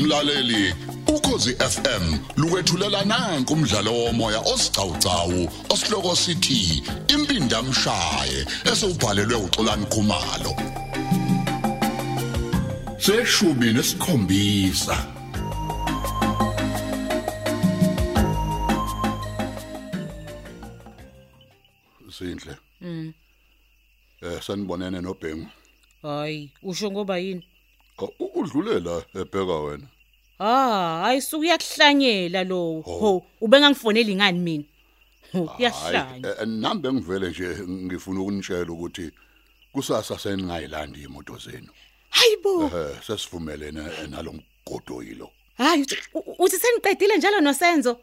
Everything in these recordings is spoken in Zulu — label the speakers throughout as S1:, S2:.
S1: mlaleli ukhosi FM lukwethulela nanku umdlalo womoya osiqhawqhawo osihloko sithi impindi amshaye esubhalelwe uXolani Khumalo seshubi nesikhombisa sindle
S2: Mm.
S1: eh sanibonene noBhengu
S2: Hayi, usho ngoba yini?
S1: Oh, u- udlule la ebheka wena
S2: Ah, ayisuka uyakuhlanyela lo.
S1: Ho.
S2: Ho, ubengangifoneli ngani mina? Ho,
S1: Oh. Hayi,
S2: uyahlanya.
S1: eh, eh, nami bengivele nje ngifuna ukunitshela ukuthi kusasa seningayilandi imoto zenu
S2: Hayibo.
S1: eh sesivumelene eh, nalomgodo yilo
S2: Hayi, uthi- u- uthi seniqedile njalo nosenzo.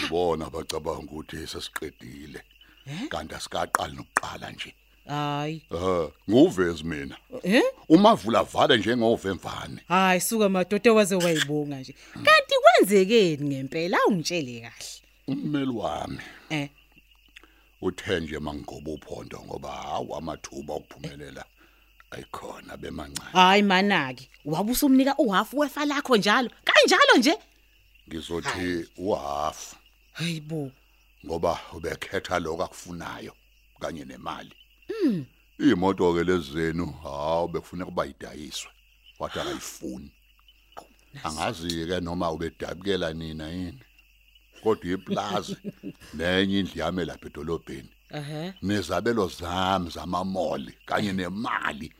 S1: ngibona bacabanga ukuthi sesiqedile kanti asikaqali nokuqala nje
S2: Hayi.
S1: eh nguvezi mina
S2: Eh?
S1: umavula vale njengovemvane
S2: Hayi, suka madoda waze wayibonga nje. Kanti kwenzekeni ngempela awungitshele kahle.
S1: ummeli wami
S2: Eh.
S1: uthe nje mangigoba uphondo ngoba hawu amathuba okuphumelela ayikhona bemancane
S2: Hayi manaki, wabusumnika uhafu wefa lakho njalo. Kanjalo nje.
S1: ngizothi uhafu
S2: Hayibo.
S1: ngoba ubekhetha lokho akufunayo kanye nemali. Mm. Imoto ke lezenu, hawo bekufuna kuba idayiswe. Wathi akayifuni. Angazi ke noma ubedabukela nina yini. Kodwa iplaza nenye indlu yami lapha edolobheni.
S2: Ehhe.
S1: Nezabelo zami zamamoli kanye nemali.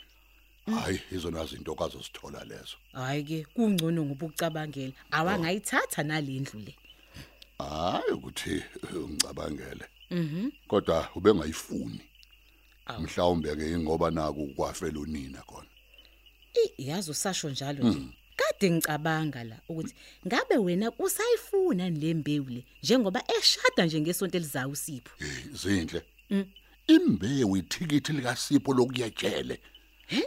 S1: Hayi izona izinto kwazosithola lezo.
S2: Hayi ke kungcono ngoba ucabangela.
S1: Oh.
S2: Awangayithatha nalendlu le.
S1: Hayi ukuthi eh, ngicabangele.
S2: Mhm.
S1: kodwa ubengayifuni
S2: Awu.
S1: mhlawumbe ke ingoba naku kwafela unina khona
S2: I- yazi usasho njalo nje kade ngicabanga la ukuthi ngabe wena usayifuna le mbewu le njengoba eshada nje ngesonto elizayo usipho
S1: Eh, zinhle imbewu ithikithi likasipho lokuyetshele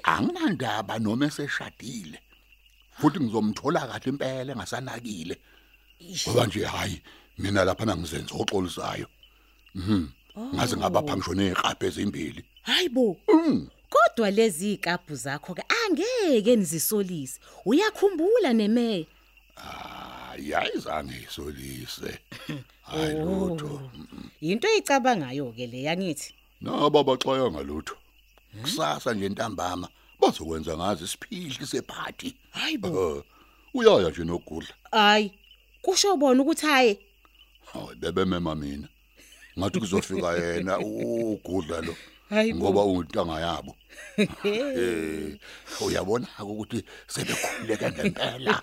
S1: anginandaba noma eseshadile futhi ngizomthola kahle impela engasanakile ngoba nje hayi mina lapha nangizenza oxolisayo mhm ngaze ngabapha ngisho nezikrabhe ezimbili
S2: hayibo kodwa lezi ikaphu zakho ke angeke nizisolise uyakhumbula nemeya
S1: hayi ayizange isolise hayi
S2: Oh.
S1: lutho
S2: into eyicabangayo ke le yangithi
S1: Naba baxoya ngalutho. Kusasa nje ntambama bazokwenza ngazi isiphihli sephathi.
S2: hayibo
S1: Eh, Uyaya nje nogudla.
S2: hayi kusho bona ukuthi haye
S1: Hawu bebemema mina. Ngathi kuzofika yena u- ugudla lo
S2: hayibo
S1: ngoba ungintanga yabo. Eh, uyabona ukuthi sebekhuleka ngempela.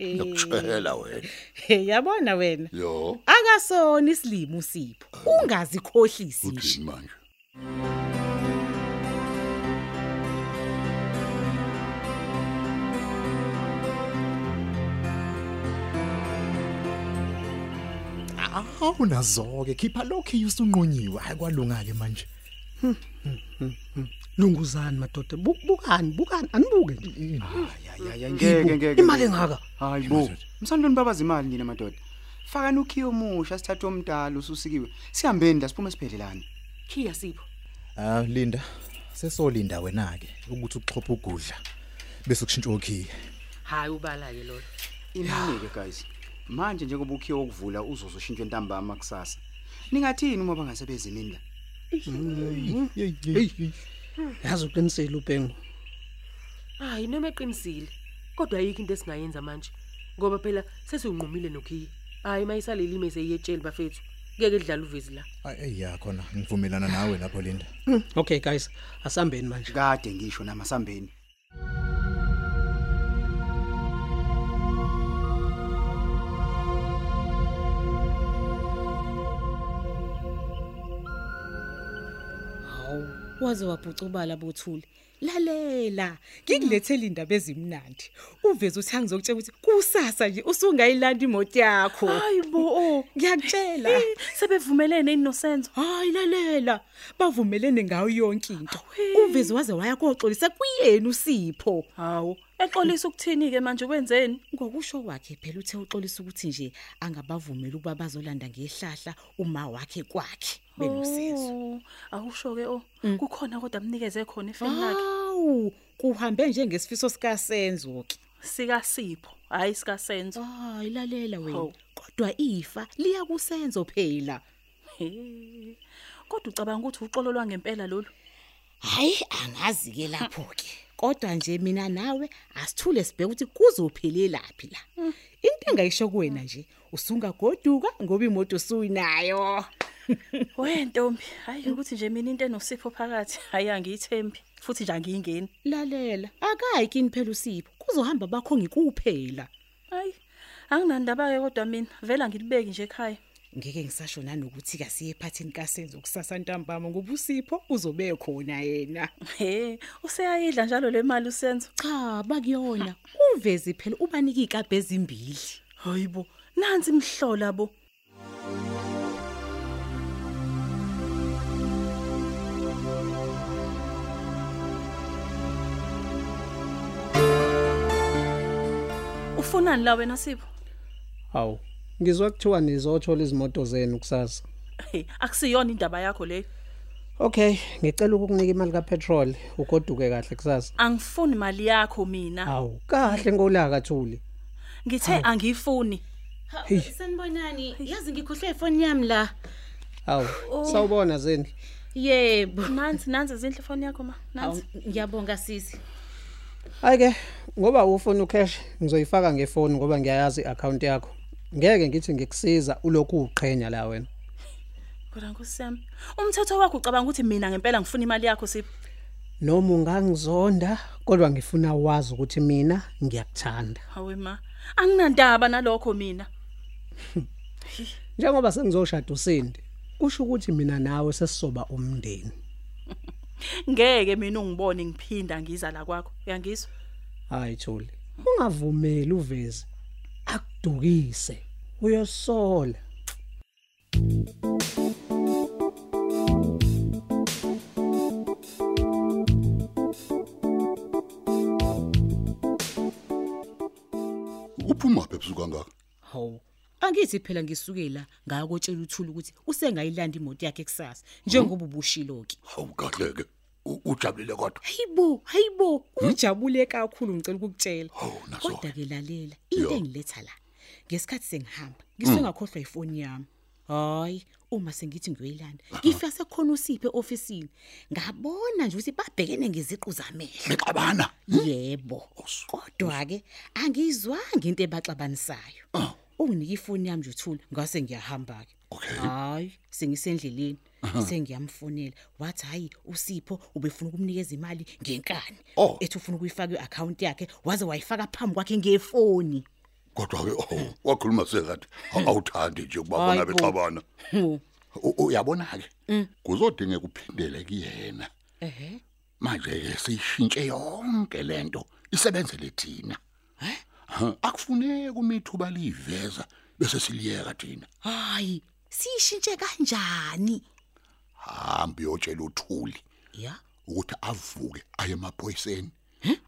S1: Ngikushela wena.
S2: yabona wena
S1: Yo,
S2: akasona isilimo sipho ungazikhohlisi nje
S1: uthini manje?
S3: awunazo-ke khipha lokhu yusunqunyiwe hayi kwalunga-ke manje
S4: Hmm, lunguzani madoda Bu- bukani bukani anibuke nje
S5: ngeke ngeke
S4: imali engaka
S5: hayi bo msandweni babaza imali nina madoda fakani ukhiyo omusha sithathe omdala ususikiwe sihambeni la siphume siphelelane
S6: Khiya Sipho.
S3: hawu Ah, linda sesolinda wena-ke ukuthi uxhophe ugudla bese kushintsha okhiye
S6: Hayi ubala ke lolo.
S5: imali-ke guys manje njengoba ukhiyo wokuvula uzozoshintshwa entambama kusasa ningathini uma bangasebeza imini la
S4: yazi uqinisele ubhengu
S6: Hayi noma eqinisile. Kodwa ayikho into esingayenza manje. Ngoba phela sesinqumile nokhiya. Hayi mayisaleli ime seyiyetsheli bafethu. Ngeke idlala uvezi la.
S3: eya khona ngivumelana nawe lapho linda
S4: Hmm, okay guys asihambeni manje
S5: kade ngisho namasambeni
S2: Hawu, waze wabhucubala bothule. Lalela, ngikulethele indaba ezimnandi. Uveze uthi angizokutshela ukuthi kusasa nje usungayilanda imoto yakho.
S6: Hayibo oh.
S2: Ngiyakutshela.
S6: Sebevumelene inosenzo.
S2: Hayi lalela, bavumelene ngayo yonke into. Uveze waze waya koxolisa kuyena uSipho.
S6: Hawu, exolisa ukuthini ke manje kwenzeni?
S2: Ngokusho kwakhe phela uthe uxolisa ukuthi nje angabavumeli ukuba bazolanda ngehlahla uma wakhe kwakhe benosizwe.
S6: Oh, Awusho ke oh, kukhona kodwa amnikeze khona efeni lakhe.
S2: Hawu, kuhambe njengesifiso sikaSenzo ke.
S6: Ah.
S7: sika Sipho hayi sika Senzo
S2: hayi lalela wena
S7: Hawu.
S2: kodwa ifa liya kusenzo phela
S7: He. kodwa ucabanga ukuthi uxolo lwangempela lolu
S2: hayi angazi ke lapho ke kodwa nje mina nawe asithule sibheke ukuthi kuzophelelaphi la into engayisho kuwena nje usungagoduka ngoba imoto usuyinayo
S7: wentombi hayi ukuthi nje mina into enosipho phakathi hayi angiyithembi futhi nje angiyingeni
S2: lalela akayi kini phela usipho kuzohamba bakho ngikuphela
S7: hayi anginandaba ke kodwa mina vela ngilibeki nje ekhaya
S2: ngeke ngisasho nanokuthi kasiye ephathini kasenzo kusasa ntambama ngoba usipho uzobe khona yena
S7: he useyayidla njalo le mali usenzo
S2: cha bakuyona uvezi phela ubanike ikabhe ezimbili
S7: hayibo nansi imhlola bo ufunani la wena sipho
S4: Hawu. Ngizwa kuthiwa nizothola izimoto zenu kusasa.
S7: hey akusiyona indaba yakho leyo
S4: Okay, ngicela ukukunika imali kapetrol ugoduke kahle kusasa.
S7: angifuni imali yakho mina
S4: Hawu, kahle ngolaka Thuli.
S7: ngithe angifuni
S2: sanibonani yazi ngikhohlwe ifoni yami la
S4: Hawu, sawubona zindlu.
S2: yebo
S7: nansi nansi izinhle phone yakho ma nansi
S2: ngiyabonga sisi
S4: Hayike, ngoba ufuna ucash, ngizoyifaka ngefoni ngoba ngiyayazi i-account yakho. Ngeke ngithi ngikusiza ulokhu uqhenya la wena.
S7: kodwa ngosiyami umthetho wakho ucabanga ukuthi mina ngempela ngifuna imali yakho sipho
S4: Noma ungangizonda, kodwa ngifuna wazi ukuthi mina ngiyakuthanda.
S7: hawe ma anginandaba nalokho mina
S4: Njengoba sengizoshada usindi, kusho ukuthi mina nawe sesizoba umndeni.
S7: ngeke mina ungibone ngiphinda ngiza la kwakho uyangizwa
S4: Hayi Thuli, ungavumeli uveze akudukise. Uyosola.
S1: uphuma phe ebusuku kangaka
S2: hawu angithi phela ngisuke la ngakotshela uthula ukuthi usengayilanda imoto yakhe kusasa njengoba ubushilo ke
S1: hawu kahle ke U- ujabulile kodwa
S2: hayibo hayibo ujabule kakhulu ngicela ukukutshela
S1: Hmm? hawu naso
S2: kodwa ke lalela into
S1: Yo. Hmm.
S2: engiletha la ngesikhathi sengihamba ngisengakhohlwa ifoni yami hayi uma sengithi ngiyoyilanda ngifika sekhona usiphe ofisini ngabona nje ukuthi babhekene ngeziqu zamehlo
S1: nixabana
S2: yebo kodwa ke angizwanga into ebaxabanisayo
S1: Ah,
S2: unginika ifoni yami nje uthula ngase ngiyahamba ke
S1: Okay.
S2: hayi sengisendleleni sengiyamfonela wathi hayi usipho ubefuna ukumnikeza imali ngenkani
S1: Oh.
S2: ethi ufuna ukuyifaka iaccount yakhe waze wayifaka phambi kwakhe ngefoni
S1: kodwa ke oh wakhuluma sekathi awuthandi nje ukubabona
S2: Hayi bo. Mm.
S1: bexabana U- uyabona ke kuzodingeka uphindele kuyena
S2: ehe
S1: manje ke siyishintshe yonke lento isebenzele thina Ha, akufuneki umithuba liveza bese siliyeka thina
S2: hayi siyishintshe kanjani
S1: hamba uyotshela uthuli
S2: ya
S1: ukuthi avuke aye emaphoyiseni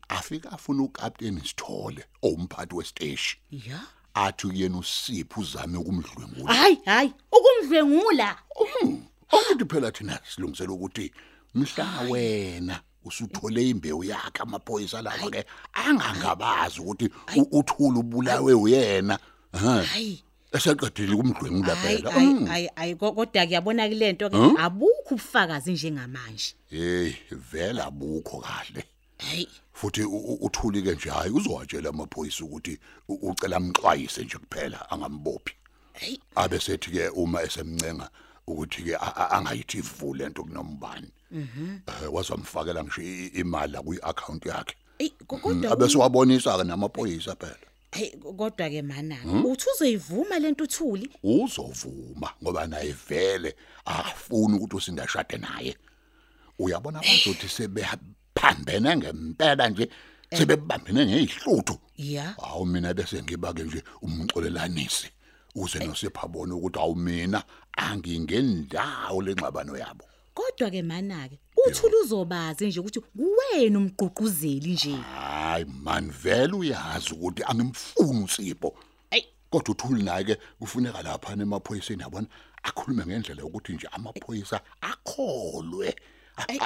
S1: afika afuna ukapteni Sithole owumphathi westeshi
S2: ya
S1: athi uyena usipho uzame ukumdlwengula
S2: hayi hayi ukumdlwengula
S1: Um, Awuthi phela thina silungisela ukuthi mhla wena usuthole imbewu yakhe amaphoyisa lawa ke angangabazi ukuthi u- uthula ubulawe uyena. Ha.
S2: hayi
S1: Esaqedile kumdlwengula
S2: hayi
S1: phela.
S2: hayi,
S1: Mm.
S2: hayi hayi ko- kodwa kuyabona kule nto ke abukho ubufakazi njengamanje
S1: Hey, vela bukho kahle.
S2: hayi
S1: Futhi u- u- uthuli ke nje hayi uzowatshela amaphoyisa ukuthi u- ucela amxwayise nje kuphela angambophi.
S2: hayi
S1: Abe sethi ke uma esemncenga ukuthi ke a- a- angayithi vule into kunombani. Mhm. Wazamfakela ngisho i- imali la kwi-account yakhe.
S2: eyi, ko- kodwa
S1: abese wabonisa ke namaphoyisa phela
S2: hayi kodwa ke mana
S1: Hmm?
S2: uthi uzoyivuma lento uthuli
S1: uzovuma ngoba naye vele afuna ukuthi usindashade naye uyabona bazothi sebephambene ngempela nje sebebambene ngezihluthu
S2: ya
S1: hawu mina bese ngibake nje umxolelanisi uze nosephabona ukuthi awu mina angingendawo lenxabano yabo
S2: kodwa ke mana ke uthuli uzobazi nje ukuthi kuwena umgququzeli nje
S1: hayi man vele uyazi ukuthi angimfuni usipho
S2: Ayi.
S1: kodwa uthuli naye ke kufuneka lapha emaphoyiseni yabona akhulume ngendlela ukuthi nje amaphoyisa akholwe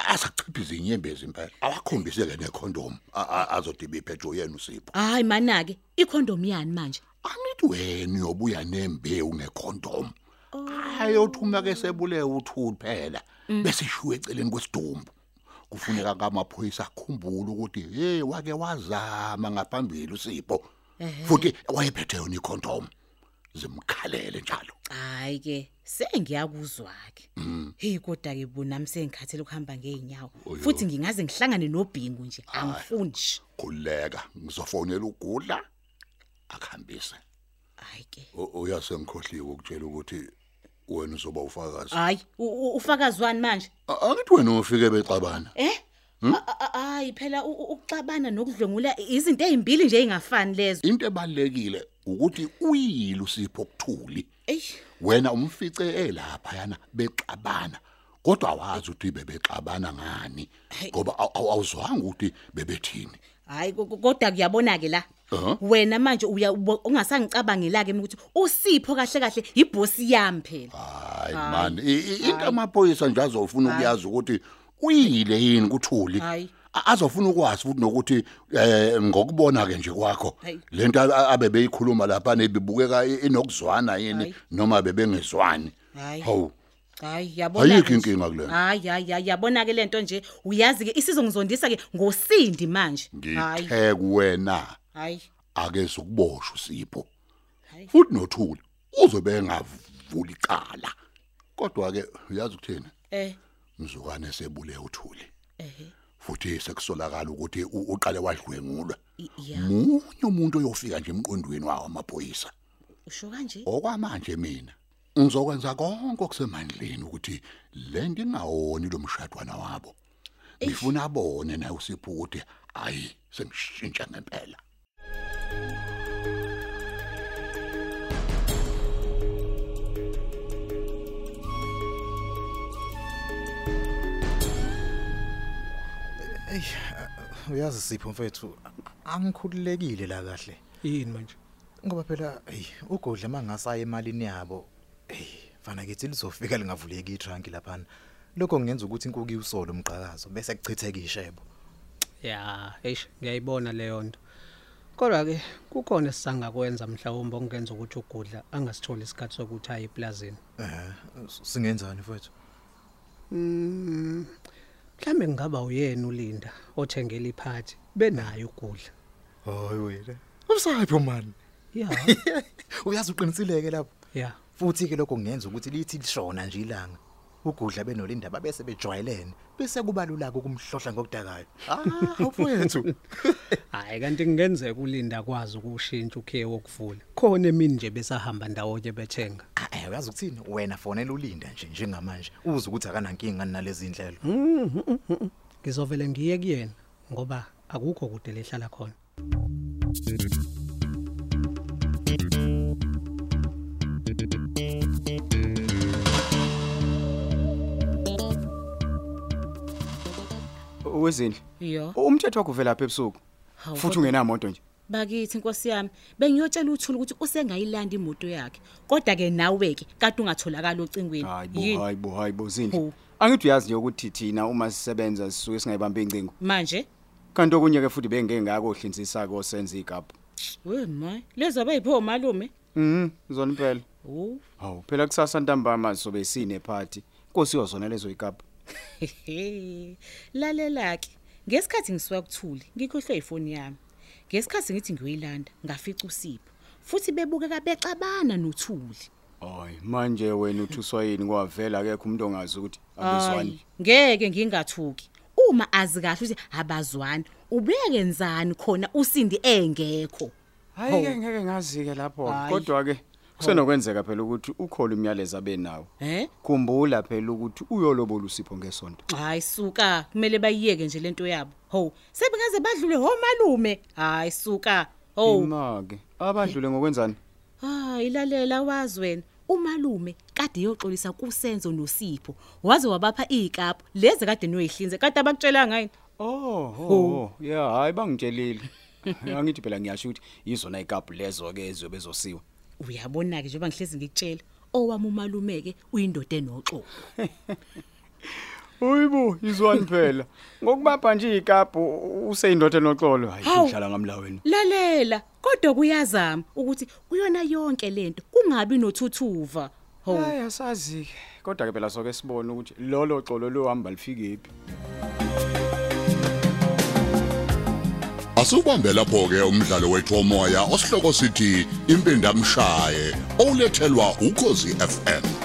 S1: asachiphize inyembezi impela awakhombiseke necondom azodiba iphethwe yena usipho
S2: hayi manake ikhondom yani manje
S1: anithi wena uyobuya nembewu ngecondom ayothuma ke sebulewe uthuli phela bese ishiwe eceleni kwesidumbu kufuneka ngamaphoyisa akhumbule ukuthi hey wake wazama ngaphambili usipho futhi wayephethe yona icondom zimkhalele njalo
S2: hayi ke sengiyakuzwa ke hey kodwa ke bo nami sengikhathele ukuhamba ngeenyawo
S1: Oyo.
S2: futhi ngingaze ngihlangane nobhingu nje angifuni nje
S1: khuleka ngizofonela ugudla akuhambise
S2: hayi ke
S1: U- uyasengikhohliwe ukutshela ukuthi wena uzoba ufakazi
S2: hayi u- u- ufakazwani manje
S1: A- angithi wena ufike bexabana
S2: eh A- a- hayi phela u- u- ukuxabana nokudlwengula izinto ezimbili nje engafani lezo
S1: into ebalekile ukuthi uyile usipho kuthuli
S2: eish
S1: wena umfice elapha yana bexabana kodwa wazi ukuthi bebexabana ngani ngoba aw- aw- awuzwanga ukuthi bebethini
S2: hayi ko- ko- kodwa kuyabona ke la
S1: Aha.
S2: wena manje uya ubo- ungasangicabangela ke mina ukuthi usipho kahle kahle ibhosi yami phela
S1: hayi man i- i- into amaphoyisa nje azofuna ukuyazi ukuthi uyile yini kuthuli
S2: Hayi.
S1: A- azofuna ukwazi futhi nokuthi eh ngokubona ke nje kwakho
S2: Hayi.
S1: lento a- abe beyikhuluma lapha nebibukeka i- inokuzwana yini
S2: Hayi.
S1: noma bebengezwani
S2: Hayi.
S1: hawu
S2: hayi yabona
S1: Ayikho inkinga kulento.
S2: hayi hayi hayi yabona ke lento nje uyazi ke isizongizondisa ke ngosindi manje hayi
S1: ngithe kuwena
S2: hayi
S1: ake sokuboshwa sipho
S2: Hayi.
S1: futhi nothuli uzobe engavuli icala kodwa ke uyazi ukuthini
S2: eh
S1: mzukwane sebule uthuli
S2: ehe
S1: futhi sekusolakala ukuthi u- uqale wadlwengulwa
S2: i- ya
S1: munye umuntu oyofika nje emqondweni wawo amaphoyisa
S2: usho kanje
S1: okwamanje mina ngizokwenza konke okusemandleni ukuthi lento ingawoni lo mshadwana wabo ngifuna abone naye usipho ukuthi hayi sengishintsha ngempela
S3: uyazi sipho mfethu angikhululekile la kahle
S4: yini manje
S3: ngoba phela hey ugodle mangasaye emalini yabo hey fana kithi lizofika lingavuleki itranki laphana lokho kungenza ukuthi inkuku iwusole umqhakazo bese kuchitheke ishebo
S4: ya eish ngiyayibona leyo nto kodwa ke kukhona esisangakwenza mhlawumbe okungenza ukuthi ugudla angasitholi isikhathi sokuthi aye eplazini
S3: eh singenzani mfethu
S4: Mm, mhlambe ngaba uyena ulinda othengele iphathi benayo ugudla
S3: hayi wena usapho man
S4: ya
S3: uyazi uqinisileke lapho
S4: ya
S3: futhi ke lokho kungenza ukuthi lithi lishona nje ilanga ugudla benolindaba bese bejwayelene bese kubalula ukumhlohla ngokudakayo ah mfethu
S4: hayi kanti kungenzeka ulinda akwazi ukushintsha ukhe wokuvula khona emini nje besahamba ndawonye bethenga
S3: Ah, eh uyazi ukuthini wena fonela ulinda nje njengamanje uze ukuthi akanankinga nalezi ndlelo
S4: Mhm, mhm, mhm. ngizovele ngiye kuyena ngoba akukho kude lehlala khona
S5: Wezindle.
S2: yo
S5: Umthetho wakho vela lapha ebusuku.
S2: Hawu,
S5: Futhi
S2: kodwa-
S5: ungenamoto nje.
S2: bakithi inkosi yami bengiyotshela uthula ukuthi usengayilanda imoto yakhe kodwa ke nawe ke kade ungatholakala ocingweni
S5: Hayi bo,
S2: yini
S5: hayi bo, hayi bo
S2: Ho.
S5: Zindle. Angithi uyazi nje ukuthi thina uma sisebenza sisuke singayibambi incingo.
S2: manje
S5: Kanti okunye ke futhi bengeke ngako hlinzisa ko senza igaphu.
S2: we my lezo abayipho malume
S5: Mhm, zona impela.
S2: oh
S5: Hawu, phela kusasa ntambama sobe sine party. Nkosi yozona lezo igaphu.
S2: Hehe. Lalelake. Ngesikhathi ngisuka kuthuli, ngikhohlwe ifoni yami. Ngesikhathi ngithi ngiyoyilanda, ngafica uSipho. Futhi bebukeka bexabana nothuli.
S5: Hayi, manje wena uthuswa yini kwavela akekho umuntu ongazi ukuthi abizwani.
S2: Ayi, Ngeke ngingathuki. Uma azi kahle ukuthi abazwani, ubeke nzani khona usindi engekho.
S5: Hayi ke ngeke ngazi ke lapho.
S2: Hayi.
S5: Kodwa ke kusenokwenzeka phela ukuthi ukhole umyalezo abenawo.
S2: Eh?
S5: Khumbula phela ukuthi uyolobola usipho ngesonto.
S2: Hayi suka, kumele bayiyeke nje lento yabo. Ho, sebengaze badlule ho malume. Hayi suka. Ho.
S5: Imake. Abadlule ngokwenzani?
S2: Hayi lalela Ah, wazi wena umalume kade yoxolisa kusenzo noSipho waze wabapha izikapu lezi kade noyihlinze kade abakutshela ngayo
S5: Oh, oh, yeah, hayi bangitshelile. Angithi phela ngiyasho ukuthi yizona ikapu lezo ke eziyobe zosiwa.
S2: uyabona ke njengoba ngihlezi ngikutshela owami umalume ke uyindoda enoxolo
S5: Hoyibo, izwani phela. Ngokubapha nje ikaphu useyindoda noxolo. Hayi,
S2: Hawu.
S5: ngihlala ngamlaweni.
S2: lalela kodwa kuyazama ukuthi kuyona yonke lento kungabi nothuthuva ho
S5: Hayi, asazi ke. Kodwa ke phela soke sibone ukuthi lolo xolo lohamba lifike phi.
S1: Asubambe lapho ke umdlalo wethu omoya osihloko sithi impindamshaye olethelwa ukozi FM.